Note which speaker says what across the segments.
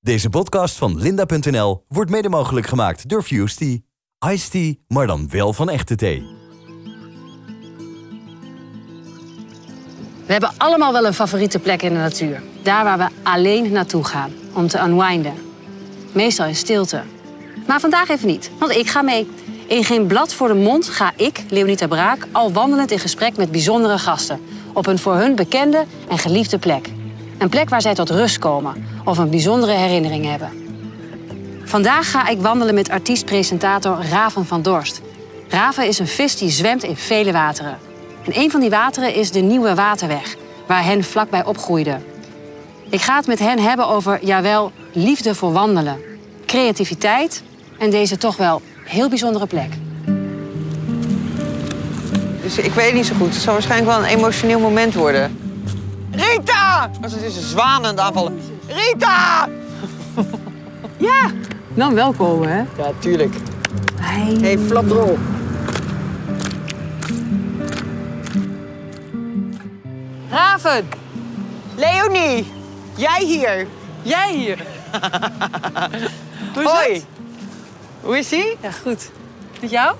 Speaker 1: Deze podcast van Linda.nl wordt mede mogelijk gemaakt door Fuse Tea. Iced tea, maar dan wel van echte thee.
Speaker 2: We hebben allemaal wel een favoriete plek in de natuur. Daar waar we alleen naartoe gaan om te unwinden. Meestal in stilte. Maar vandaag even niet, want ik ga mee. In geen blad voor de mond ga ik, Leonita Braak, al wandelend in gesprek met bijzondere gasten. Op een voor hun bekende en geliefde plek. Een plek waar zij tot rust komen of een bijzondere herinnering hebben. Vandaag ga ik wandelen met artiest-presentator Raven van Dorst. Raven is een vis die zwemt in vele wateren. En een van die wateren is de Nieuwe Waterweg, waar hen vlakbij opgroeide. Ik ga het met hen hebben over, jawel, liefde voor wandelen, creativiteit en deze toch wel heel bijzondere plek.
Speaker 3: Dus ik weet niet zo goed. Het zal waarschijnlijk wel een emotioneel moment worden. Rita! Oh, ze is een zwaan aan het aanvallen. Rita!
Speaker 2: Dan Nou, welkom, hè?
Speaker 3: Ja, tuurlijk. hey, flapdrol.
Speaker 2: Raven!
Speaker 3: Leonie, jij hier.
Speaker 4: Jij hier? Hoe is
Speaker 3: Hoi.
Speaker 4: het?
Speaker 3: Hoe is ie?
Speaker 4: Ja, goed. Met jou?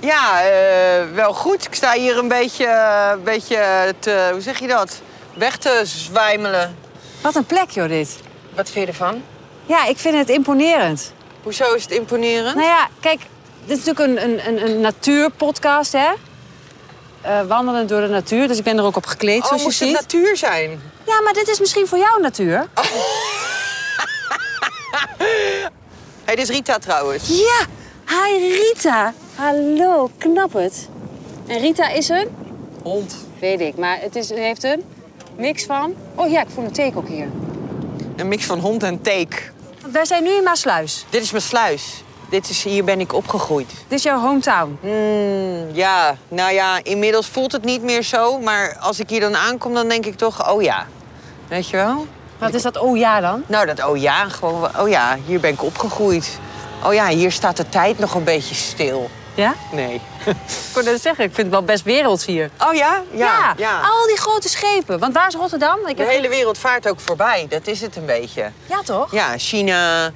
Speaker 3: Ja, eh, wel goed. Ik sta hier een beetje, eh, een beetje te, hoe zeg je dat? Weg te zwijmelen.
Speaker 2: Wat een plek, joh, dit.
Speaker 3: Wat vind je ervan?
Speaker 2: Ja, ik vind het imponerend.
Speaker 3: Hoezo is het imponerend?
Speaker 2: Nou ja, kijk, dit is natuurlijk een, een, een, een natuurpodcast, hè? Eh wandelen door de natuur, dus ik ben er ook op gekleed,
Speaker 3: oh,
Speaker 2: zoals je
Speaker 3: moest het
Speaker 2: ziet. Oh.
Speaker 3: natuur zijn?
Speaker 2: Ja, maar dit is misschien voor jou natuur.
Speaker 3: hey, dit is Rita trouwens.
Speaker 2: Ja, hi Rita. Hallo, knap het. En Rita is een?
Speaker 3: Hond.
Speaker 2: Weet ik, maar het is, het heeft een mix van... Oh ja, ik voel een teken ook hier.
Speaker 3: Een mix van hond en teek.
Speaker 2: Wij zijn nu in Maasluis.
Speaker 3: Dit is mijn sluis. Dit is, hier ben ik opgegroeid.
Speaker 2: Dit is jouw hometown.
Speaker 3: Mm, ja, nou ja, inmiddels voelt het niet meer zo. Maar als ik hier dan aankom, dan denk ik toch, oh ja. Weet je wel?
Speaker 2: Wat is dat oh ja dan?
Speaker 3: Nou, dat oh ja, gewoon, oh ja, hier ben ik opgegroeid. Oh ja, hier staat de tijd nog een beetje stil.
Speaker 2: Ja?
Speaker 3: Nee.
Speaker 2: Ik kon net zeggen, ik vind het wel best werelds hier.
Speaker 3: Oh ja? Ja. ja.
Speaker 2: al die grote schepen. Want waar is Rotterdam? Oh, Ik
Speaker 3: De
Speaker 2: heb-
Speaker 3: hele wereld vaart ook voorbij, dat is het een beetje.
Speaker 2: Ja, toch?
Speaker 3: Ja, China,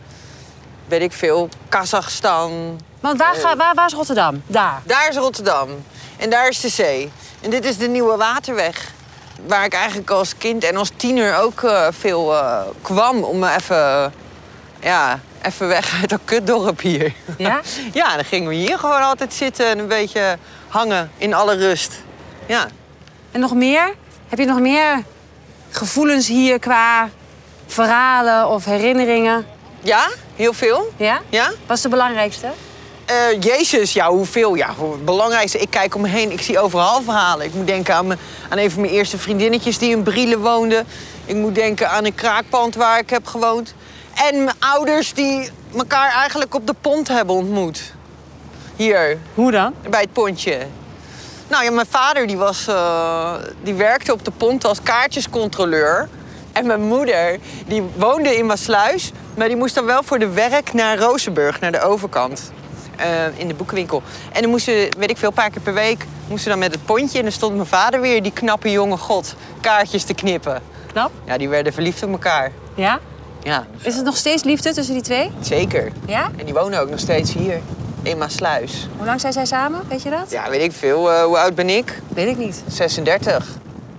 Speaker 3: weet ik veel, Kazachstan.
Speaker 2: Want waar, ga, waar, waar is Rotterdam? Daar.
Speaker 3: Daar is Rotterdam. En daar is de zee. En dit is de Nieuwe Waterweg. Waar ik eigenlijk als kind en als tiener ook eh, veel eh, kwam om me even, ja, even weg uit dat kutdorp hier.
Speaker 2: Ja?
Speaker 3: ja, dan gingen we hier gewoon altijd zitten en een beetje hangen in alle rust. Ja.
Speaker 2: En nog meer? Heb je nog meer gevoelens hier qua verhalen of herinneringen?
Speaker 3: Ja? Heel veel?
Speaker 2: Ja?
Speaker 3: Ja?
Speaker 2: Wat is de belangrijkste?
Speaker 3: Eh, Jezus, ja, hoeveel? Ja, hoe- het belangrijkste, ik kijk om me heen, ik zie overal verhalen. Ik moet denken aan, mijn, aan een van mijn eerste vriendinnetjes die in Brielen woonde. Ik moet denken aan een kraakpand waar ik heb gewoond. En mijn ouders die elkaar eigenlijk op de pont hebben ontmoet. Hier,
Speaker 2: Hoe dan?
Speaker 3: bij het pontje. Nou ja, mijn vader die was, eh, die werkte op de pont als kaartjescontroleur. En mijn moeder die woonde in Maasluis, maar die moest dan wel voor de werk naar Rozenburg, naar de overkant. eh, in de boekenwinkel. En dan moesten, weet ik veel, een paar keer per week moesten dan met het pontje. En dan stond mijn vader weer, die knappe jonge god, kaartjes te knippen.
Speaker 2: Knap?
Speaker 3: Ja, die werden verliefd op elkaar.
Speaker 2: Ja?
Speaker 3: Ja,
Speaker 2: Is het nog steeds liefde tussen die twee?
Speaker 3: zeker.
Speaker 2: Ja?
Speaker 3: En die wonen ook nog steeds hier, in Maasluis.
Speaker 2: Hoe lang zijn zij samen? Weet je dat?
Speaker 3: Ja, weet ik veel. eh, hoe oud ben ik?
Speaker 2: Weet ik niet.
Speaker 3: 36.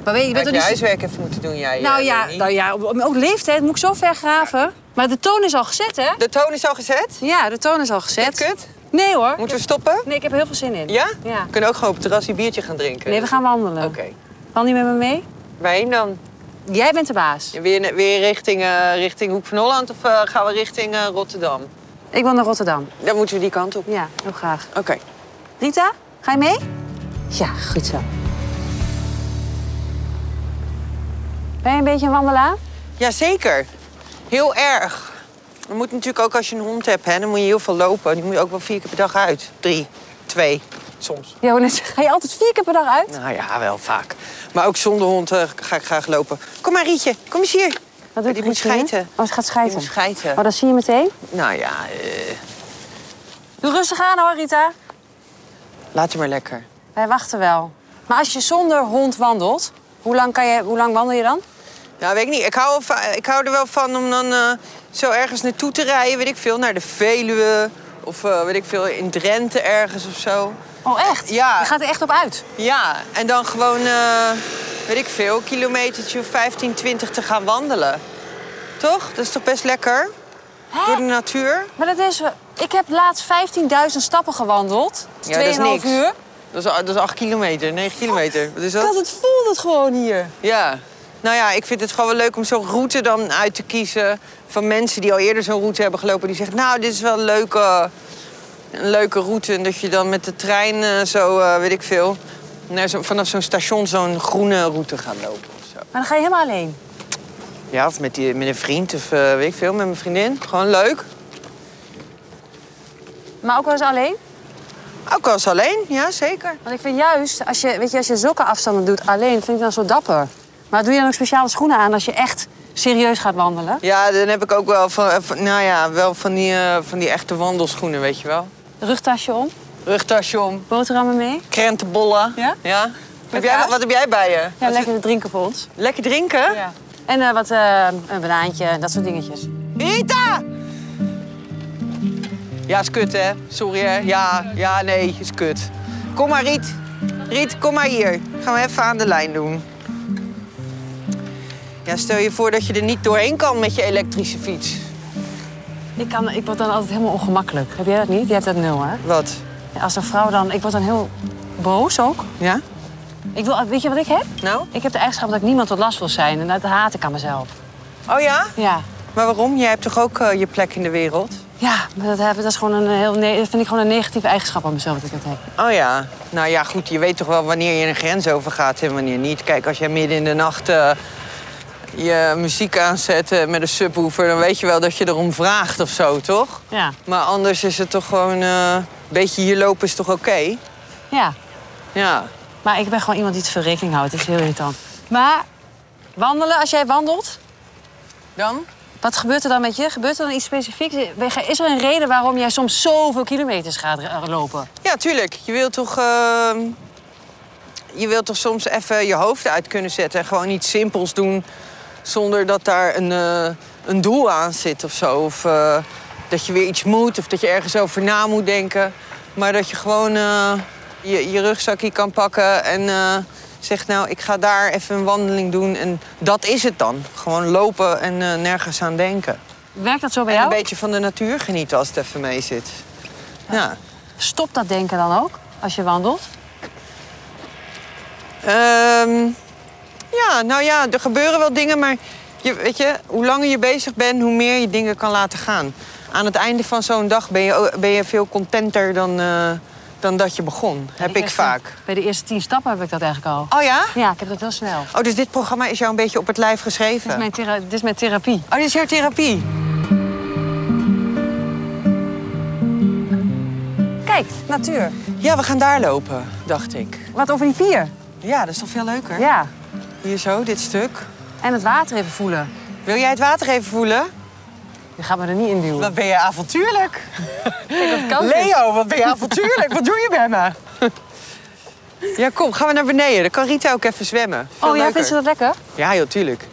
Speaker 2: Maar weet je, je
Speaker 3: Je
Speaker 2: bent
Speaker 3: had
Speaker 2: toch
Speaker 3: je
Speaker 2: niet...
Speaker 3: huiswerk even moeten doen, jij.
Speaker 2: nou,
Speaker 3: eh,
Speaker 2: ja,
Speaker 3: Leni.
Speaker 2: nou ja, om- ook leeftijd moet ik zo ver graven. Maar de toon is al gezet, hè?
Speaker 3: De toon is al gezet?
Speaker 2: Ja, de toon is al gezet.
Speaker 3: Kut?
Speaker 2: Nee hoor.
Speaker 3: Moeten we stoppen?
Speaker 2: Nee, ik heb er heel veel zin in.
Speaker 3: Ja?
Speaker 2: Ja.
Speaker 3: We kunnen ook gewoon op het terras een biertje gaan drinken.
Speaker 2: Nee, we gaan wandelen.
Speaker 3: Oké.
Speaker 2: Wandel je met me mee?
Speaker 3: Waarheen dan?
Speaker 2: Jij bent de baas.
Speaker 3: Weer, weer richting, eh, richting Hoek van Holland of eh, gaan we richting eh, Rotterdam?
Speaker 2: Ik wil naar Rotterdam.
Speaker 3: Dan moeten we die kant op.
Speaker 2: Ja, heel graag.
Speaker 3: Oké.
Speaker 2: Rita, ga je mee? Ja, goed zo. Ben je een beetje een wandelaar?
Speaker 3: Jazeker. Heel erg. Je moet natuurlijk ook als je een hond hebt, hè, dan moet je heel veel lopen. Die moet je ook wel vier keer per dag uit. Drie, twee, soms.
Speaker 2: Ja, net, ga je altijd vier keer per dag uit?
Speaker 3: Nou ja, wel vaak. Maar ook zonder hond eh, ga ik graag lopen. Kom maar, Rietje. Kom eens hier.
Speaker 2: Wat doet
Speaker 3: die moet
Speaker 2: Christine?
Speaker 3: schijten.
Speaker 2: Oh, ze gaat
Speaker 3: Die
Speaker 2: schijten.
Speaker 3: moet schijten.
Speaker 2: Oh, dat zie je meteen.
Speaker 3: Nou ja, eh,
Speaker 2: Doe rustig aan hoor, Rita.
Speaker 3: laat hem maar lekker.
Speaker 2: Wij wachten wel. Maar als je zonder hond wandelt, hoe lang, kan je, hoe lang wandel je dan?
Speaker 3: Ja, weet ik niet. Ik hou, wel van- ik hou er wel van om dan eh, zo ergens naartoe te rijden, weet ik veel, naar de Veluwe. Of eh, weet ik veel, in Drenthe ergens of zo.
Speaker 2: Oh, echt?
Speaker 3: Ja.
Speaker 2: Je gaat er echt op uit.
Speaker 3: Ja, en dan gewoon, eh, weet ik veel, kilometertje of 15, 20 te gaan wandelen. Toch? Dat is toch best lekker? Door de natuur?
Speaker 2: Maar dat is... eh, Ik heb laatst 15.000 stappen gewandeld.
Speaker 3: Ja, dat is
Speaker 2: 2,5
Speaker 3: niks.
Speaker 2: uur.
Speaker 3: Dat is, dat is 8 kilometer, 9 kilometer. Wat is dat?
Speaker 4: het voelt het gewoon hier.
Speaker 3: Ja. Nou ja, ik vind het gewoon wel leuk om zo'n route dan uit te kiezen... van mensen die al eerder zo'n route hebben gelopen. Die zeggen, nou, dit is wel een leuke, een leuke route. En dat je dan met de trein eh, zo, eh, weet ik veel... Naar zo, vanaf zo'n station zo'n groene route gaat lopen of zo.
Speaker 2: Maar dan ga je helemaal alleen.
Speaker 3: Ja, of met, die, met een vriend of eh, weet ik veel, met mijn vriendin. Gewoon leuk.
Speaker 2: Maar ook wel eens alleen.
Speaker 3: Ook als alleen, ja, zeker.
Speaker 2: Want ik vind juist, als je, weet je, als je zulke afstanden doet alleen, vind ik dan zo dapper. Maar doe je dan ook speciale schoenen aan als je echt serieus gaat wandelen?
Speaker 3: Ja, dan heb ik ook wel van, eh, van- nou ja, wel van die, eh, van die echte wandelschoenen, weet je wel.
Speaker 2: Rugtasje om,
Speaker 3: Rugtasje om,
Speaker 2: boterhammen mee.
Speaker 3: krentenbollen.
Speaker 4: Ja?
Speaker 3: Heb jij,
Speaker 2: kaas?
Speaker 3: wat heb jij bij je?
Speaker 2: Ja, lekker drinken voor ons.
Speaker 3: Lekker drinken?
Speaker 4: Ja.
Speaker 2: En eh, wat, eh, een banaantje en dat soort dingetjes.
Speaker 3: Rita! Ja, is kut, hè? Sorry, hè? Ja, ja, nee, is kut. Kom maar, Riet. Riet, kom maar hier. Gaan we even aan de lijn doen. Ja, stel je voor dat je er niet doorheen kan met je elektrische fiets.
Speaker 2: Ik, kan, ik word dan altijd helemaal ongemakkelijk. Heb jij dat niet? Jij hebt dat nul, hè?
Speaker 3: Wat?
Speaker 2: Ja, Als een vrouw dan, ik word dan heel boos ook.
Speaker 3: Ja?
Speaker 2: Ik wil, weet je wat ik heb?
Speaker 3: Nou?
Speaker 2: Ik heb de eigenschap dat ik niemand tot last wil zijn. En dat haat ik aan mezelf.
Speaker 3: Oh ja?
Speaker 2: Ja.
Speaker 3: Maar waarom? Jij hebt toch ook eh, je plek in de wereld?
Speaker 2: Ja, maar dat, heb, dat, is gewoon een heel, ne- dat vind ik gewoon een negatieve eigenschap aan mezelf dat ik dat heb.
Speaker 3: Oh ja. Nou ja, goed, je weet toch wel wanneer je een grens overgaat en wanneer niet. Kijk, als jij midden in de nacht eh, je muziek aanzet eh, met een subwoofer... dan weet je wel dat je erom vraagt of zo, toch?
Speaker 2: Ja.
Speaker 3: Maar anders is het toch gewoon... eh, een beetje hier lopen is toch oké?
Speaker 2: Ja.
Speaker 3: Ja.
Speaker 2: Maar ik ben gewoon iemand die het veel rekening houdt. Dat is heel irritant. Maar wandelen, als jij wandelt,
Speaker 3: Dan?
Speaker 2: wat gebeurt er dan met je? Gebeurt er dan iets specifieks? Is er een reden waarom jij soms zoveel kilometers gaat eh, lopen?
Speaker 3: Ja, tuurlijk. Je wilt toch... ehm, je wilt toch soms even je hoofd uit kunnen zetten... en gewoon iets simpels doen... zonder dat daar een, eh, een doel aan zit of zo. Of eh, dat je weer iets moet of dat je ergens over na moet denken. Maar dat je gewoon eh, je, je rugzakje kan pakken en eh, zegt... nou, ik ga daar even een wandeling doen en dat is het dan. Gewoon lopen en eh, nergens aan denken.
Speaker 2: Werkt dat zo bij
Speaker 3: En een
Speaker 2: jou?
Speaker 3: beetje van de natuur genieten als het even mee zit. ja.
Speaker 2: Stop dat denken dan ook, als je wandelt?
Speaker 3: Ehm, ja, nou ja, er gebeuren wel dingen, maar je, weet je, hoe langer je bezig bent, hoe meer je dingen kan laten gaan. Aan het einde van zo'n dag ben je, oh, ben je veel contenter dan, eh, dan dat je begon. Heb
Speaker 2: De
Speaker 3: ik
Speaker 2: eerste-
Speaker 3: vaak.
Speaker 2: Bij de eerste tien stappen heb ik dat eigenlijk al.
Speaker 3: Oh ja?
Speaker 2: Ja, ik heb dat heel snel.
Speaker 3: Oh, dus dit programma is jou een beetje op het lijf
Speaker 2: Dit is
Speaker 3: geschreven?
Speaker 2: mijn, thera- dit is mijn therapie.
Speaker 3: Oh, dit is jouw therapie?
Speaker 2: Kijk, natuur.
Speaker 3: Ja, we gaan daar lopen, dacht ik.
Speaker 2: Wat over die pier?
Speaker 3: Ja, dat is toch veel leuker?
Speaker 2: Ja.
Speaker 3: Hier zo, dit stuk.
Speaker 2: En het water even voelen.
Speaker 3: Wil jij het water even voelen?
Speaker 2: Je gaat me er niet in duwen.
Speaker 3: Wat ben je avontuurlijk.
Speaker 2: Dat kan
Speaker 3: Leo, wat ben je avontuurlijk? wat doe je bij me? Ja, kom, gaan we naar beneden. Dan kan Rita ook even zwemmen. Veel
Speaker 2: Oh ja,
Speaker 3: leuker.
Speaker 2: vindt ze dat lekker?
Speaker 3: Ja, joh, tuurlijk.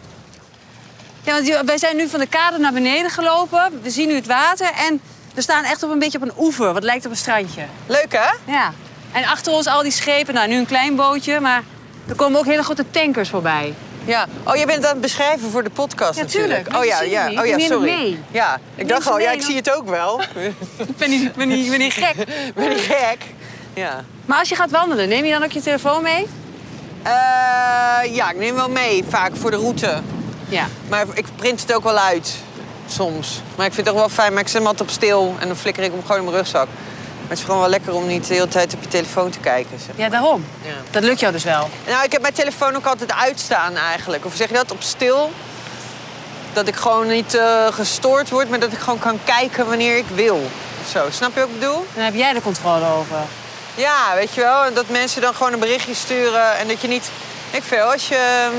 Speaker 2: Ja, want die- wij zijn nu van de kade naar beneden gelopen. We zien nu het water en we staan echt op een beetje op een oever. Wat lijkt op een strandje.
Speaker 3: Leuk, hè?
Speaker 2: Ja. En achter ons al die schepen. Nou, nu een klein bootje, maar er komen ook hele grote tankers voorbij.
Speaker 3: Ja. Oh, je bent het aan het beschrijven voor de podcast
Speaker 2: Ja,
Speaker 3: natuurlijk.
Speaker 2: tuurlijk, maar
Speaker 3: Oh
Speaker 2: je
Speaker 3: ja,
Speaker 2: ziet het
Speaker 3: ja.
Speaker 2: niet.
Speaker 3: Oh ja,
Speaker 2: Je neemt het
Speaker 3: sorry.
Speaker 2: mee.
Speaker 3: Ja, ik dacht
Speaker 2: het
Speaker 3: al, ja,
Speaker 2: mee,
Speaker 3: ik
Speaker 2: dan-
Speaker 3: zie het ook wel.
Speaker 2: Ik ben niet, ben niet, ben niet gek.
Speaker 3: ben ik gek? Ja.
Speaker 2: Maar als je gaat wandelen, neem je dan ook je telefoon mee?
Speaker 3: Eh, ja, ik neem wel mee, vaak voor de route.
Speaker 2: Ja.
Speaker 3: Maar ik print het ook wel uit, soms. Maar ik vind het ook wel fijn, maar ik zet hem altijd op stil en dan flikker ik hem gewoon in mijn rugzak. Maar het is gewoon wel lekker om niet de hele tijd op je telefoon te kijken. Zeg.
Speaker 2: Ja, daarom.
Speaker 3: Ja.
Speaker 2: Dat lukt jou dus wel.
Speaker 3: Nou, ik heb mijn telefoon ook altijd uitstaan eigenlijk. Of zeg je dat op stil? Dat ik gewoon niet eh, gestoord word, maar dat ik gewoon kan kijken wanneer ik wil. Of zo. Snap je wat ik bedoel?
Speaker 2: Dan heb jij de controle over.
Speaker 3: Ja, weet je wel. En dat mensen dan gewoon een berichtje sturen en dat je niet. Ik veel, als je. ehm,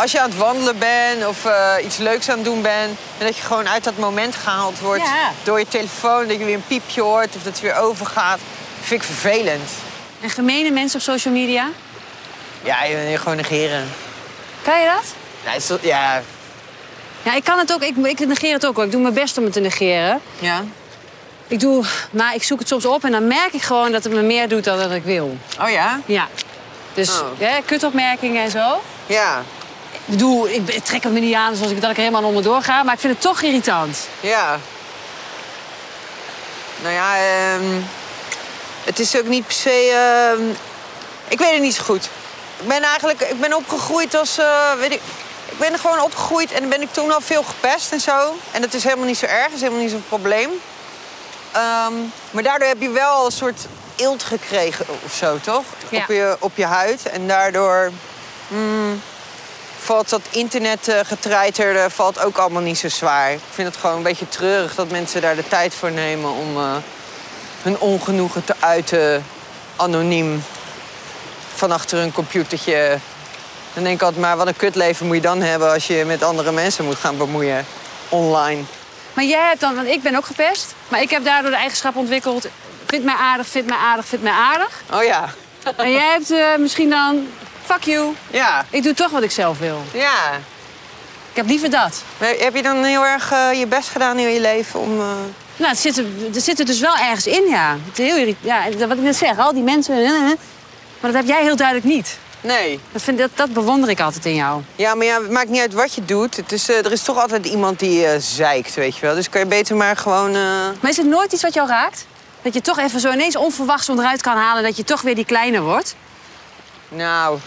Speaker 3: Als je aan het wandelen bent of eh, iets leuks aan het doen bent. En dat je gewoon uit dat moment gehaald wordt
Speaker 2: Ja.
Speaker 3: door je telefoon. Dat je weer een piepje hoort of dat het weer overgaat. Vind ik vervelend.
Speaker 2: En gemene mensen op social media?
Speaker 3: Ja, je gewoon negeren.
Speaker 2: Kan je dat?
Speaker 3: Ja, Nou, is dat- ja.
Speaker 2: Ja, ik kan het ook. Ik, ik negeer het ook wel. Ik doe mijn best om het te negeren.
Speaker 3: ja.
Speaker 2: Ik doe, maar ik zoek het soms op en dan merk ik gewoon dat het me meer doet dan dat ik wil.
Speaker 3: Oh ja?
Speaker 2: Ja. Dus
Speaker 3: Oh.
Speaker 2: hè, kutopmerkingen en zo.
Speaker 3: Ja.
Speaker 2: Ik bedoel, ik be- trek het me niet aan zoals ik, dat ik er helemaal onderdoor ga. Maar ik vind het toch irritant.
Speaker 3: Ja. Nou ja, ehm, het is ook niet per se. ehm, ik weet het niet zo goed. Ik ben eigenlijk, ik ben opgegroeid als, eh, weet ik, ik ben gewoon opgegroeid en ben ik toen al veel gepest en zo. En dat is helemaal niet zo erg, is helemaal niet zo'n probleem. Ehm, maar daardoor heb je wel een soort eelt gekregen of zo, toch?
Speaker 2: Ja.
Speaker 3: Op, je, op je huid. En daardoor mm, valt dat internetgetreiterde valt ook allemaal niet zo zwaar. Ik vind het gewoon een beetje treurig dat mensen daar de tijd voor nemen om eh, hun ongenoegen te uiten anoniem van achter een computertje. Dan denk ik altijd maar, wat een kutleven moet je dan hebben als je je met andere mensen moet gaan bemoeien online.
Speaker 2: Maar jij hebt dan, want ik ben ook gepest. Maar ik heb daardoor de eigenschap ontwikkeld. Vind mij aardig, vind mij aardig, vind mij aardig.
Speaker 3: Oh ja,
Speaker 2: en jij hebt eh, misschien dan, fuck you.
Speaker 3: ja,
Speaker 2: Ik doe toch wat ik zelf wil.
Speaker 3: ja.
Speaker 2: Ik heb liever dat.
Speaker 3: Maar Heb je dan heel erg eh, je best gedaan in je leven om... eh,
Speaker 2: Nou, het zit er, het zit er dus wel ergens in, ja. Het is heel irri- ja. en Wat ik net zeg, al die mensen. eh, eh. Maar dat heb jij heel duidelijk niet.
Speaker 3: Nee.
Speaker 2: Dat, vind, dat, dat bewonder ik altijd in jou.
Speaker 3: Ja, maar ja, het maakt niet uit wat je doet. Het is, eh, er is toch altijd iemand die eh zeikt, weet je wel. Dus kan je beter maar gewoon... eh,
Speaker 2: Maar is het nooit iets wat jou raakt? Dat je toch even zo ineens onverwachts onderuit kan halen dat je toch weer die kleine wordt?
Speaker 3: nou,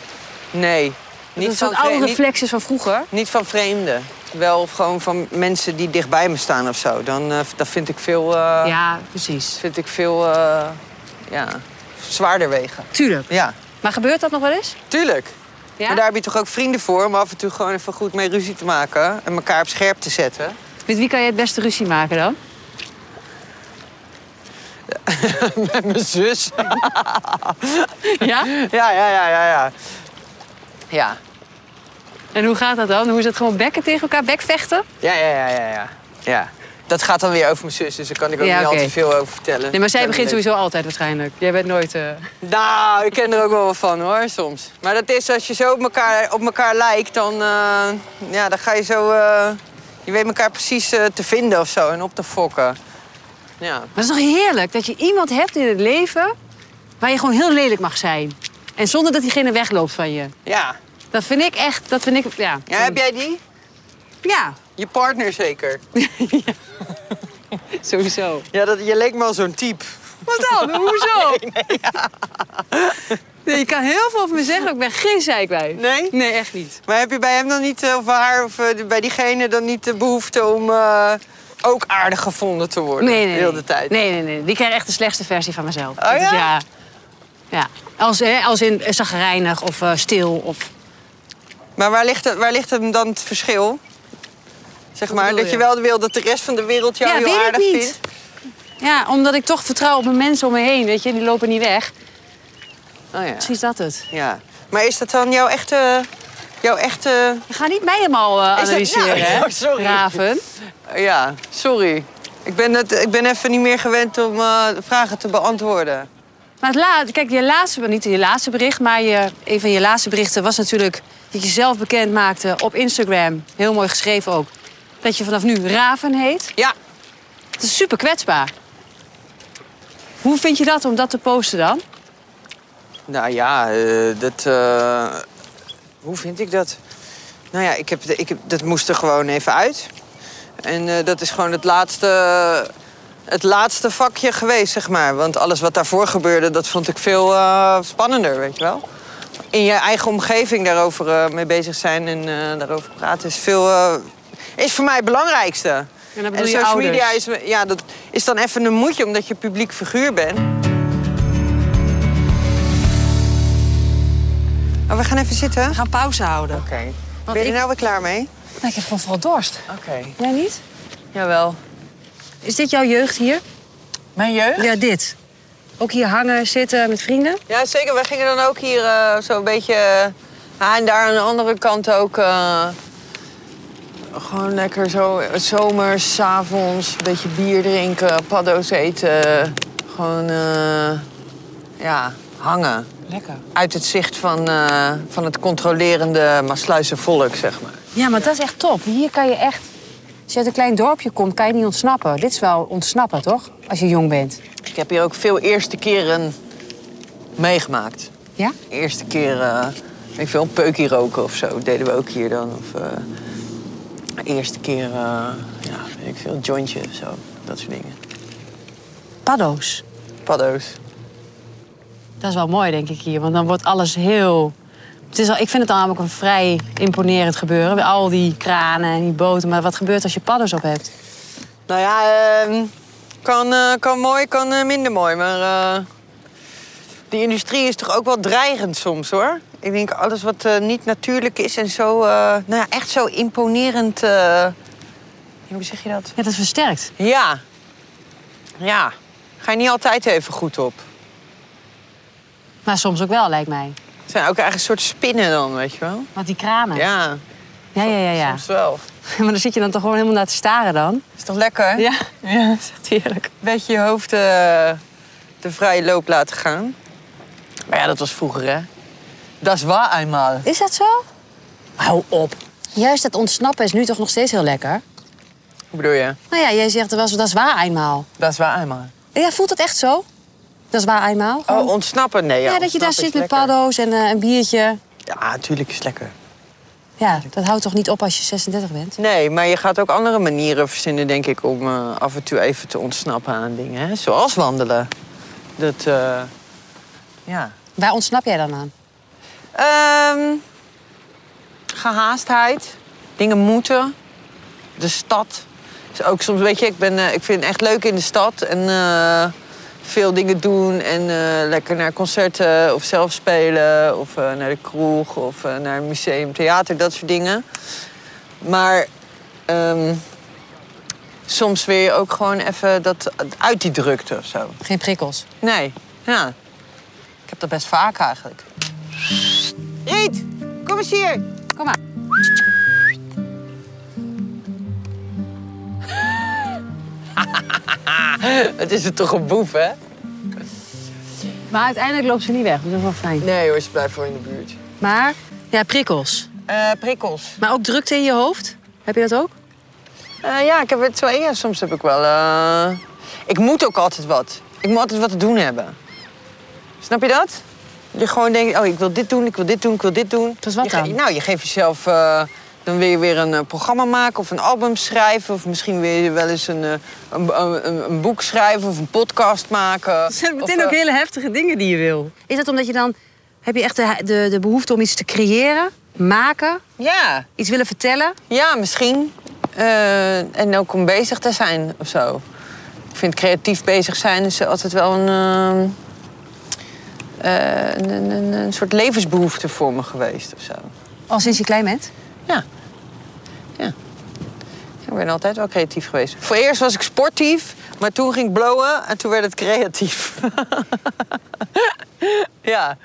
Speaker 3: nee.
Speaker 2: Dat
Speaker 3: Niet
Speaker 2: is zo'n
Speaker 3: van,
Speaker 2: oude
Speaker 3: vre- niet,
Speaker 2: reflex is van vroeger.
Speaker 3: niet van vreemden. Wel gewoon van mensen die dichtbij me staan of zo. Dan eh, dat vind ik veel... eh,
Speaker 2: Ja, precies.
Speaker 3: vind ik veel eh, ja, zwaarder wegen.
Speaker 2: Tuurlijk.
Speaker 3: Ja,
Speaker 2: Maar gebeurt dat nog wel eens?
Speaker 3: tuurlijk.
Speaker 2: Ja?
Speaker 3: Maar daar heb je toch ook vrienden voor om af en toe gewoon even goed mee ruzie te maken en elkaar op scherp te zetten.
Speaker 2: Met wie kan je het beste ruzie maken dan?
Speaker 3: Met mijn zus.
Speaker 2: Ja?
Speaker 3: ja, ja, ja, ja, ja. Ja,
Speaker 2: En hoe gaat dat dan? Hoe is het gewoon bekken tegen elkaar? Bekvechten?
Speaker 3: ja, ja, ja, ja. ja. ja. Dat gaat dan weer over mijn zus, dus daar kan ik ook
Speaker 2: Ja,
Speaker 3: niet
Speaker 2: oké.
Speaker 3: al te veel over vertellen.
Speaker 2: Nee, maar zij
Speaker 3: Dat
Speaker 2: begint
Speaker 3: weet ik.
Speaker 2: sowieso altijd waarschijnlijk. Jij bent nooit... eh,
Speaker 3: Nou, ik ken er ook wel wat van hoor, soms. Maar dat is, als je zo op elkaar, op elkaar lijkt, dan, eh, ja, dan ga je zo... eh, je weet elkaar precies eh, te vinden of zo en op te fokken. Ja.
Speaker 2: Maar het is toch heerlijk dat je iemand hebt in het leven waar je gewoon heel lelijk mag zijn. En zonder dat diegene wegloopt van je.
Speaker 3: Ja.
Speaker 2: Dat vind ik echt, dat vind ik, ja.
Speaker 3: ja, heb jij die?
Speaker 2: Ja,
Speaker 3: Je partner zeker.
Speaker 2: sowieso.
Speaker 3: Ja, dat, je leek me al zo'n type.
Speaker 2: Wat dan? Hoezo? Nee, je kan heel veel over me zeggen, maar ik ben geen zeikwijf.
Speaker 3: Nee?
Speaker 2: Nee, echt niet.
Speaker 3: Maar heb je bij hem dan niet, eh, of bij haar, of eh, bij diegene dan niet de behoefte om eh, ook aardig gevonden te worden?
Speaker 2: Nee, nee, nee.
Speaker 3: De hele tijd.
Speaker 2: Nee, nee, nee. Die krijgen echt de slechtste versie van mezelf.
Speaker 3: Oh
Speaker 2: Dat is-
Speaker 3: ja?
Speaker 2: ja? Ja. Als, hè, als in eh, zagrijnig of eh, stil of...
Speaker 3: Maar waar ligt, het, waar ligt hem dan het verschil? Zeg maar,
Speaker 2: bedoel
Speaker 3: dat
Speaker 2: je?
Speaker 3: je wel wil dat de rest van de wereld jou
Speaker 2: Ja,
Speaker 3: heel
Speaker 2: weet ik
Speaker 3: aardig
Speaker 2: niet.
Speaker 3: vindt.
Speaker 2: Ja, omdat ik toch vertrouw op mijn mensen om me heen, weet je. Die lopen niet weg.
Speaker 3: Oh ja.
Speaker 2: Misschien is dat het.
Speaker 3: ja. Maar is dat dan jouw echte... Jouw echte...
Speaker 2: We gaan niet mij helemaal eh,
Speaker 3: Is dat-
Speaker 2: analyseren,
Speaker 3: Ja,
Speaker 2: hè?
Speaker 3: oh, sorry.
Speaker 2: Raven.
Speaker 3: Ja, sorry. Ik ben, het, ik ben even niet meer gewend om eh, vragen te beantwoorden.
Speaker 2: Maar het laat, kijk, je laatste, niet je laatste bericht, maar je, een van je laatste berichten was natuurlijk dat je zelf bekend maakte op Instagram. Heel mooi geschreven ook. Dat je vanaf nu Raven heet.
Speaker 3: Ja.
Speaker 2: Het is super kwetsbaar. Hoe vind je dat om dat te posten dan?
Speaker 3: Nou ja, eh, dat... eh, hoe vind ik dat? Nou ja, ik heb, de- ik heb, dat moest er gewoon even uit. En eh, dat is gewoon het laatste, het laatste vakje geweest, zeg maar. Want alles wat daarvoor gebeurde, dat vond ik veel eh, spannender, weet je wel. In je eigen omgeving daarover eh, mee bezig zijn en eh, daarover praten is veel... eh, is voor mij het belangrijkste.
Speaker 2: En dan bedoel je
Speaker 3: social
Speaker 2: ouders.
Speaker 3: media is, ja, dat is dan even een moedje, omdat je publiek figuur bent. Oh, we gaan even zitten.
Speaker 2: We gaan pauze houden.
Speaker 3: Oké.
Speaker 2: Want
Speaker 3: Ben je
Speaker 2: ik-
Speaker 3: er nou weer klaar mee?
Speaker 2: Nou, ik heb gewoon vooral dorst.
Speaker 3: Oké.
Speaker 2: Jij niet?
Speaker 3: Jawel.
Speaker 2: Is dit jouw jeugd hier?
Speaker 3: Mijn jeugd?
Speaker 2: Ja, dit. Ook hier hangen, zitten met vrienden?
Speaker 3: Ja, zeker. Wij gingen dan ook hier eh, zo'n beetje... eh, ja, en daar aan de andere kant ook... eh, gewoon lekker zo eh, zomers, 's avonds, een beetje bier drinken, paddo's eten. Gewoon, eh, ja, hangen.
Speaker 4: Lekker.
Speaker 3: Uit het zicht van, eh, van het controlerende Maasluise volk, zeg maar.
Speaker 2: Ja, maar dat is echt top. Hier kan je echt... Als je uit een klein dorpje komt, kan je niet ontsnappen. Dit is wel ontsnappen, toch? Als je jong bent.
Speaker 3: Ik heb hier ook veel eerste keren meegemaakt.
Speaker 2: Ja?
Speaker 3: eerste keer, eh, weet ik veel, een peukje roken of zo. deden we ook hier dan. Of eh, eerste keer, eh, ja, weet ik veel, een jointje of zo. Dat soort dingen.
Speaker 2: Paddo's.
Speaker 3: Paddo's.
Speaker 2: Dat is wel mooi, denk ik, hier. Want dan wordt alles heel... Het is al, ik vind het namelijk een vrij imponerend gebeuren. Al die kranen en die boten. Maar wat gebeurt als je paddo's op hebt?
Speaker 3: Nou ja, ehm, kan, eh, kan mooi, kan eh, minder mooi. Maar eh, die industrie is toch ook wel dreigend soms, hoor. Ik denk alles wat eh, niet natuurlijk is en zo, eh, nou ja, echt zo imponerend. eh, hoe zeg je dat?
Speaker 2: Ja, dat versterkt.
Speaker 3: Ja. Ja. Ga je niet altijd even goed op.
Speaker 2: Maar soms ook wel, lijkt mij.
Speaker 3: Het zijn ook eigenlijk een soort spinnen dan, weet je wel?
Speaker 2: Want die kranen.
Speaker 3: Ja,
Speaker 2: ja, ja. ja, ja.
Speaker 3: soms wel.
Speaker 2: Maar dan zit je dan toch gewoon helemaal naar te staren dan?
Speaker 3: Is toch lekker?
Speaker 2: Ja, ja dat is echt heerlijk.
Speaker 3: Beetje je hoofd eh, de vrije loop laten gaan. Maar ja, dat was vroeger, hè? Dat is waar eenmaal.
Speaker 2: Is dat zo?
Speaker 3: Hou op.
Speaker 2: Juist dat ontsnappen is nu toch nog steeds heel lekker?
Speaker 3: Hoe bedoel je?
Speaker 2: Nou ja, jij zegt wel zo, dat is waar eenmaal.
Speaker 3: Dat is waar eenmaal.
Speaker 2: Ja, voelt dat echt zo? Dat is waar eenmaal?
Speaker 3: Oh, ontsnappen? Nee, ja.
Speaker 2: ja, dat je daar zit
Speaker 3: ontsnappen
Speaker 2: met
Speaker 3: is lekker.
Speaker 2: paddo's en eh, een biertje.
Speaker 3: Ja, natuurlijk is het lekker.
Speaker 2: Ja, dat houdt toch niet op als je 36 bent?
Speaker 3: Nee, maar je gaat ook andere manieren verzinnen, denk ik, om eh, af en toe even te ontsnappen aan dingen. Hè? Zoals wandelen. Dat, eh, ja.
Speaker 2: Waar ontsnap jij dan aan?
Speaker 3: Ehm gehaastheid. Dingen moeten. De stad. Is ook soms, weet je, ik, ben, eh, ik vind het echt leuk in de stad. En eh, veel dingen doen. En eh, lekker naar concerten of zelf spelen. Of eh, naar de kroeg. Of eh, naar een museum, theater, dat soort dingen. Maar ehm, soms wil je ook gewoon even dat, uit die drukte of zo.
Speaker 2: Geen prikkels.
Speaker 3: Nee, ja. Ik heb dat best vaak eigenlijk. Riet, kom eens hier.
Speaker 2: Kom maar.
Speaker 3: Het is het toch een boef, hè?
Speaker 2: Maar uiteindelijk loopt ze niet weg, dus dat is wel fijn.
Speaker 3: Nee hoor, ze blijft voor in de buurt. Eh,
Speaker 2: Maar, ja, prikkels.
Speaker 3: prikkels.
Speaker 2: Maar ook drukte in je hoofd? Heb je dat ook?
Speaker 3: Eh, ja, ik heb er twee. Ja, soms heb ik wel... eh, Ik moet ook altijd wat. Ik moet altijd wat te doen hebben. Snap je dat? Je gewoon denkt, oh, ik wil dit doen, ik wil dit doen, ik wil dit doen.
Speaker 2: Dat is wat
Speaker 3: Je ge-
Speaker 2: dan?
Speaker 3: Nou, je geeft jezelf... eh, dan wil je weer een eh, programma maken of een album schrijven... of misschien wil je wel eens een, eh, een, een, een- een boek schrijven of een podcast maken.
Speaker 2: Het zijn
Speaker 3: Of,
Speaker 2: meteen
Speaker 3: eh,
Speaker 2: ook hele heftige dingen die je wil. Is dat omdat je dan... Heb je echt de, de, de behoefte om iets te creëren, maken,
Speaker 3: Ja,
Speaker 2: iets willen vertellen?
Speaker 3: ja, misschien. Eh, en ook om bezig te zijn of zo. Ik vind creatief bezig zijn is altijd wel een, ehm, eh, een, een- een, een soort levensbehoefte voor me geweest of zo.
Speaker 2: Al sinds je klein bent?
Speaker 3: Ja. ja. Ik ben altijd wel creatief geweest. Voor eerst was ik sportief, maar toen ging ik blowen en toen werd het creatief. ja.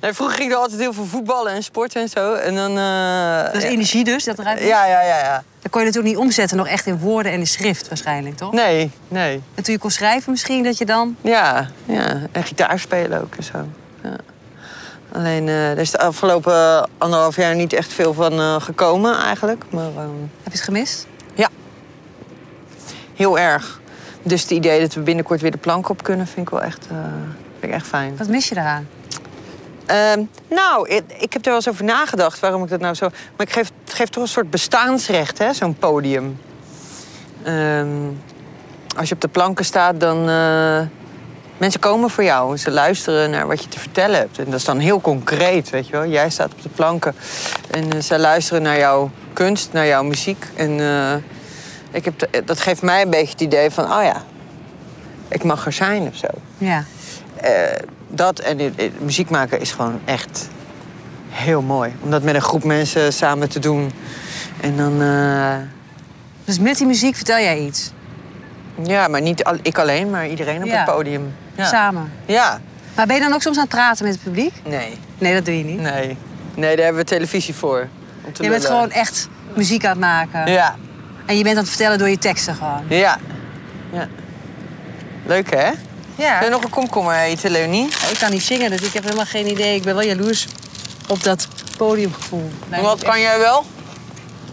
Speaker 3: Nee, vroeger ging ik altijd heel veel voetballen en sporten en zo. En dan. eh,
Speaker 2: Dat is energie dus, dat eruit
Speaker 3: ja, ja, ja, ja.
Speaker 2: Dat kon je natuurlijk niet omzetten, nog echt in woorden en in schrift waarschijnlijk, toch?
Speaker 3: Nee, nee.
Speaker 2: En toen je kon schrijven misschien, dat je dan...
Speaker 3: Ja, ja. En gitaar spelen ook en zo. Ja. Alleen, eh er is de afgelopen anderhalf jaar niet echt veel van eh, gekomen eigenlijk. Maar ehm,
Speaker 2: Heb je het gemist?
Speaker 3: ja, heel erg. Dus het idee dat we binnenkort weer de plank op kunnen, vind ik wel echt, eh, vind ik echt fijn.
Speaker 2: Wat mis je daaraan?
Speaker 3: Ehm, nou, ik, ik heb er wel eens over nagedacht waarom ik dat nou zo. Maar ik geef, het geeft toch een soort bestaansrecht, hè, zo'n podium. Ehm, als je op de planken staat, dan. eh, mensen komen voor jou en ze luisteren naar wat je te vertellen hebt. En dat is dan heel concreet, weet je wel. Jij staat op de planken en eh, zij luisteren naar jouw kunst, naar jouw muziek. En eh, ik heb, de- dat geeft mij een beetje het idee van: oh ja, ik mag er zijn of zo
Speaker 2: Ja.
Speaker 3: eh, dat en eh, eh, muziek maken is gewoon echt heel mooi. Om dat met een groep mensen samen te doen. En dan, eh,
Speaker 2: Dus met die muziek vertel jij iets.
Speaker 3: ja, maar niet al- ik alleen, maar iedereen op
Speaker 2: Ja.
Speaker 3: het podium. Ja.
Speaker 2: Samen.
Speaker 3: Ja.
Speaker 2: Maar ben je dan ook soms aan het praten met het publiek?
Speaker 3: Nee,
Speaker 2: Nee, dat doe je niet.
Speaker 3: nee. Nee, daar hebben we televisie voor. Om te
Speaker 2: Je bent
Speaker 3: lullen.
Speaker 2: gewoon echt muziek aan het maken.
Speaker 3: Ja,
Speaker 2: En je bent aan het vertellen door je teksten gewoon.
Speaker 3: ja. ja. Leuk hè?
Speaker 2: Ja.
Speaker 3: Wil je nog een komkommer eten, Leonie?
Speaker 2: Ik kan niet zingen, dus ik heb helemaal geen idee. Ik ben wel jaloers op dat podiumgevoel.
Speaker 3: Wat kan jij wel?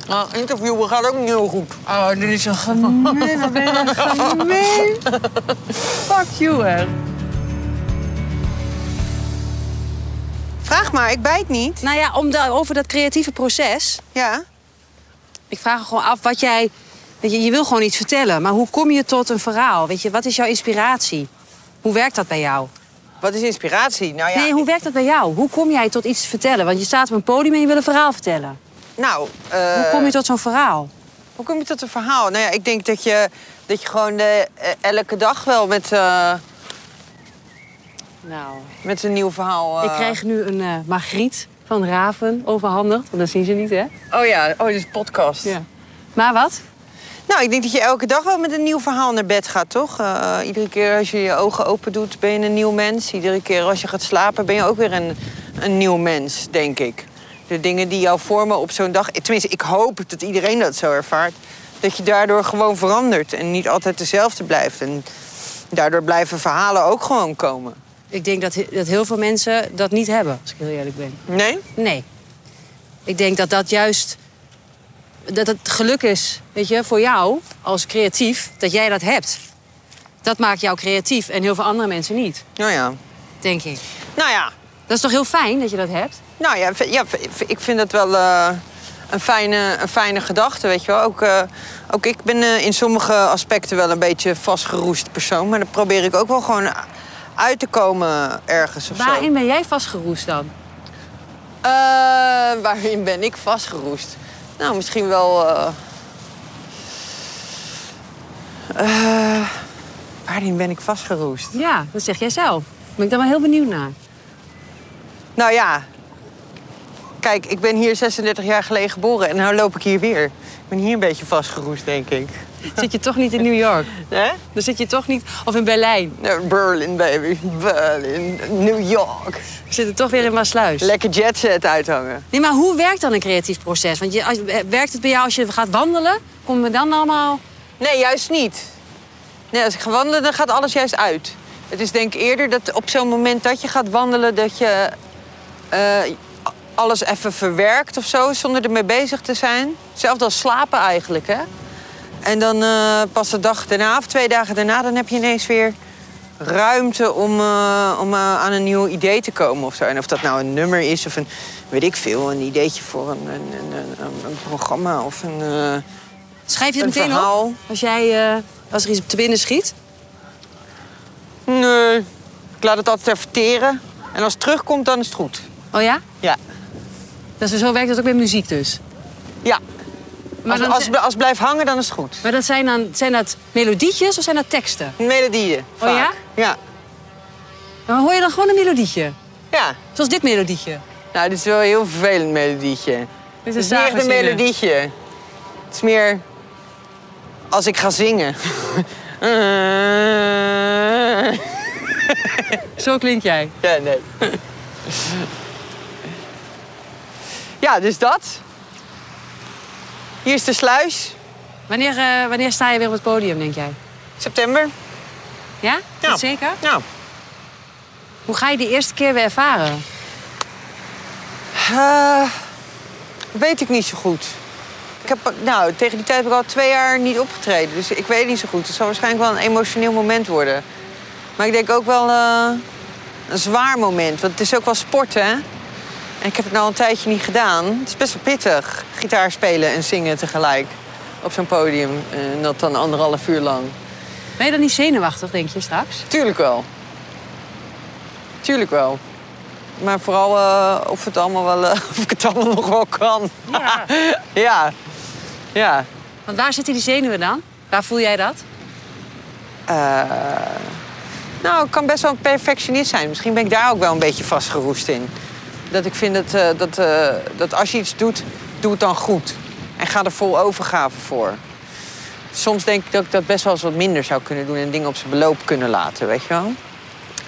Speaker 3: Nou, interviewen gaat ook niet heel goed.
Speaker 4: Oh, dit is een gemeen. Wat ben je een gemeen? Fuck you, hè.
Speaker 3: Vraag maar, ik bijt niet.
Speaker 2: Nou ja, om da- over dat creatieve proces.
Speaker 3: Ja.
Speaker 2: Ik vraag me gewoon af wat jij... Weet je, je wil gewoon iets vertellen, maar hoe kom je tot een verhaal? Weet je, wat is jouw inspiratie? Hoe werkt dat bij jou?
Speaker 3: Wat is inspiratie? Nou ja,
Speaker 2: Nee, hoe werkt dat bij jou? Hoe kom jij tot iets te vertellen? Want je staat op een podium en je wil een verhaal vertellen.
Speaker 3: nou... eh,
Speaker 2: Hoe kom je tot zo'n verhaal?
Speaker 3: Hoe kom je tot een verhaal? Nou ja, ik denk dat je, dat je gewoon eh, elke dag wel met, eh,
Speaker 2: Nou,
Speaker 3: met een nieuw verhaal... eh,
Speaker 2: ik krijg nu een eh Margriet van Raven overhandigd. Want dat zien ze niet, hè?
Speaker 3: Oh ja, oh, dit is podcast.
Speaker 2: Maar wat?
Speaker 3: Nou, ik denk dat je elke dag wel met een nieuw verhaal naar bed gaat, toch? Eh, iedere keer als je je ogen open doet, ben je een nieuw mens. Iedere keer als je gaat slapen, ben je ook weer een, een nieuw mens, denk ik. De dingen die jou vormen op zo'n dag... Tenminste, ik hoop dat iedereen dat zo ervaart. Dat je daardoor gewoon verandert en niet altijd dezelfde blijft. En daardoor blijven verhalen ook gewoon komen.
Speaker 2: Ik denk dat, he- dat heel veel mensen dat niet hebben, als ik heel eerlijk ben.
Speaker 3: Nee?
Speaker 2: Nee. Ik denk dat dat juist... Dat het geluk is, weet je, voor jou als creatief, dat jij dat hebt. Dat maakt jou creatief en heel veel andere mensen niet,
Speaker 3: Nou ja.
Speaker 2: denk ik.
Speaker 3: Nou ja,
Speaker 2: Dat is toch heel fijn dat je dat hebt?
Speaker 3: Nou ja, v- ja v- v- ik vind dat wel eh, een, fijne, een fijne gedachte, weet je wel. Ook, eh, ook ik ben eh, in sommige aspecten wel een beetje vastgeroest persoon. Maar dan probeer ik ook wel gewoon a- uit te komen ergens of zo.
Speaker 2: Waarin ben jij vastgeroest dan?
Speaker 3: Eh, waarin ben ik vastgeroest? Nou, misschien wel... eh, eh, waarin ben ik vastgeroest?
Speaker 2: Ja, dat zeg jij zelf. Ben ik daar wel heel benieuwd naar.
Speaker 3: Nou ja. Kijk, ik ben hier 36 jaar geleden geboren en nu loop ik hier weer. Ik ben hier een beetje vastgeroest, denk ik.
Speaker 2: Zit je toch niet in New York?
Speaker 3: Hè?
Speaker 2: Dan zit je toch niet... Of in Berlijn.
Speaker 3: Nou, Berlin, baby. Berlin. New York.
Speaker 2: We zitten toch weer in Maasluis.
Speaker 3: Lekker jetset uithangen.
Speaker 2: Nee, maar hoe werkt dan een creatief proces? Want je, als, eh, werkt het bij jou als je gaat wandelen? Komen we dan allemaal...
Speaker 3: Nee, juist niet. Nee, als ik ga wandelen, dan gaat alles juist uit. Het is denk ik eerder dat op zo'n moment dat je gaat wandelen... dat je eh, alles even verwerkt of zo, zonder ermee bezig te zijn. Hetzelfde als slapen eigenlijk, hè? En dan eh, pas de dag daarna of twee dagen daarna... dan heb je ineens weer ruimte om, eh, om eh, aan een nieuw idee te komen of zo. En of dat nou een nummer is of een, weet ik veel... een ideetje voor een, een, een, een, een programma of een... eh,
Speaker 2: Schrijf je het
Speaker 3: Een
Speaker 2: meteen
Speaker 3: verhaal.
Speaker 2: op? Als, jij, eh, als er iets te binnen schiet?
Speaker 3: Nee, ik laat het altijd even teren. En als het terugkomt, dan is het goed.
Speaker 2: Oh ja?
Speaker 3: Ja.
Speaker 2: Dus zo werkt dat ook met muziek dus?
Speaker 3: Ja.
Speaker 2: Maar,
Speaker 3: als,
Speaker 2: dan,
Speaker 3: als, als het blijft hangen, dan is het goed.
Speaker 2: maar dat zijn, dan, zijn dat melodietjes of zijn dat teksten?
Speaker 3: Melodieën. Vaak.
Speaker 2: Oh ja?
Speaker 3: Ja.
Speaker 2: Maar hoor je dan gewoon een melodietje?
Speaker 3: Ja.
Speaker 2: Zoals dit melodietje.
Speaker 3: Nou, dit is wel een heel vervelend melodietje.
Speaker 2: Dit
Speaker 3: Het is niet echt een
Speaker 2: eh.
Speaker 3: melodietje. Het is meer als ik ga zingen.
Speaker 2: Zo klink jij.
Speaker 3: ja, nee. ja, dus dat. Hier is de sluis.
Speaker 2: Wanneer, eh, wanneer sta je weer op het podium, denk jij?
Speaker 3: September.
Speaker 2: Ja?
Speaker 3: Ja.
Speaker 2: Dat zeker?
Speaker 3: Nou,
Speaker 2: Hoe ga je die eerste keer weer ervaren?
Speaker 3: Eh, weet ik niet zo goed. Ik heb, nou, tegen die tijd heb ik al twee jaar niet opgetreden. Dus ik weet niet zo goed. Het zal waarschijnlijk wel een emotioneel moment worden. Maar ik denk ook wel eh, een zwaar moment. Want het is ook wel sport, hè? En ik heb het nou al een tijdje niet gedaan. Het is best wel pittig. Gitaar spelen en zingen tegelijk. Op zo'n podium. eh, En dat dan anderhalf uur lang.
Speaker 2: Ben je dan niet zenuwachtig, denk je straks?
Speaker 3: Tuurlijk wel. Tuurlijk wel. Maar vooral eh, of, het allemaal wel, eh, of ik het allemaal nog wel kan. Ja. ja. Ja.
Speaker 2: Want waar zitten die zenuwen dan? Waar voel jij dat?
Speaker 3: Eh, nou, ik kan best wel een perfectionist zijn. Misschien ben ik daar ook wel een beetje vastgeroest in. Dat ik vind dat, eh, dat, eh, dat als je iets doet, doe het dan goed. En ga er vol overgave voor. Soms denk ik dat ik dat best wel eens wat minder zou kunnen doen... en dingen op zijn beloop kunnen laten, weet je wel? Maar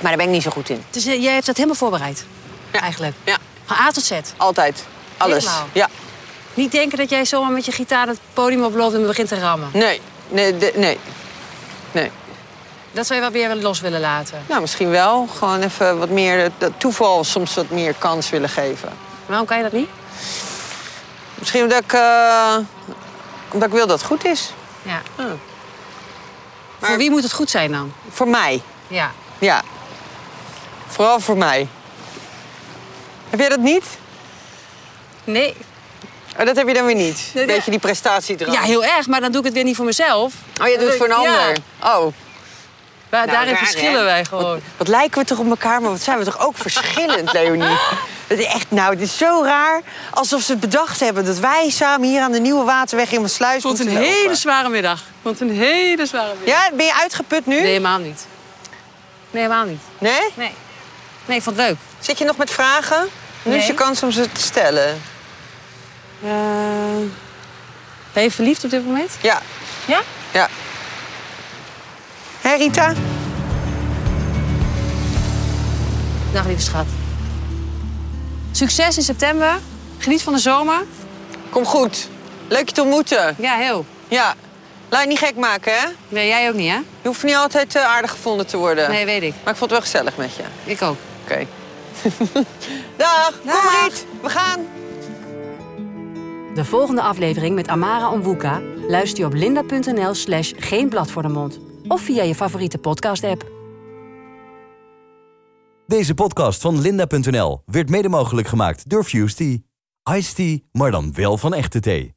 Speaker 3: daar ben ik niet zo goed in.
Speaker 2: Dus eh, jij hebt dat helemaal voorbereid? Eigenlijk?
Speaker 3: Ja.
Speaker 2: Van A tot Z?
Speaker 3: Altijd. Alles.
Speaker 2: Helemaal.
Speaker 3: Ja.
Speaker 2: Niet denken dat jij zomaar met je gitaar het podium oploopt en begint te rammen.
Speaker 3: Nee. Nee, de- nee. Nee.
Speaker 2: Dat zou je wel weer los willen laten.
Speaker 3: Nou, misschien wel. Gewoon even wat meer dat toeval soms wat meer kans willen geven.
Speaker 2: Waarom kan je dat niet?
Speaker 3: Misschien omdat ik, eh, omdat ik wil dat het goed is.
Speaker 2: Ja.
Speaker 3: Ja.
Speaker 2: Voor wie moet het goed zijn dan?
Speaker 3: Voor mij.
Speaker 2: Ja.
Speaker 3: Ja. Vooral voor mij. Heb jij dat niet?
Speaker 2: Nee.
Speaker 3: Oh, dat heb je dan weer niet.
Speaker 2: Nee,
Speaker 3: Beetje
Speaker 2: nee.
Speaker 3: die prestatiedrang.
Speaker 2: Ja, heel erg, maar dan doe ik het weer niet voor mezelf.
Speaker 3: Oh, je doet het voor een
Speaker 2: Ja.
Speaker 3: ander. Oh.
Speaker 2: Maar
Speaker 3: Nou,
Speaker 2: daarin
Speaker 3: raar,
Speaker 2: verschillen
Speaker 3: hè?
Speaker 2: wij gewoon.
Speaker 3: Wat lijken we toch op elkaar, maar wat zijn we toch ook verschillend, Leonie? Dat is echt, nou, het is zo raar. Alsof ze het bedacht hebben dat wij samen hier aan de Nieuwe Waterweg in Maassluis
Speaker 2: Ik vond
Speaker 3: moeten
Speaker 2: een
Speaker 3: lopen.
Speaker 2: hele zware middag. Ik vond een hele zware middag.
Speaker 3: Ja, ben je uitgeput nu?
Speaker 2: Nee, helemaal niet. Nee, helemaal niet.
Speaker 3: Nee?
Speaker 2: Nee. Nee, ik vond het leuk.
Speaker 3: Zit je nog met vragen? Nu is
Speaker 2: Nee.
Speaker 3: je kans om ze te stellen.
Speaker 5: Eh,
Speaker 2: Ben je verliefd op dit moment?
Speaker 3: Ja,
Speaker 2: Ja?
Speaker 3: ja. Hé, Rita?
Speaker 2: Dag, lieve schat. Succes in september. Geniet van de zomer.
Speaker 3: Kom goed. Leuk je te ontmoeten.
Speaker 2: Ja, heel.
Speaker 3: Ja. Laat je niet gek maken, hè?
Speaker 2: Nee, jij ook niet, hè?
Speaker 3: Je hoeft niet altijd eh, aardig gevonden te worden.
Speaker 2: Nee, weet ik.
Speaker 3: Maar ik vond het wel gezellig met je. Oké.
Speaker 2: Ik ook.
Speaker 3: Dag.
Speaker 2: Dag.
Speaker 3: Kom, Riet. We gaan.
Speaker 5: De volgende aflevering met Amara Onwuka luister je op linda.nl slash geen blad voor de mond. Of via je favoriete podcast-app.
Speaker 1: Deze podcast van Linda.nl werd mede mogelijk gemaakt door Fusty. Iced tea, maar dan wel van echte thee.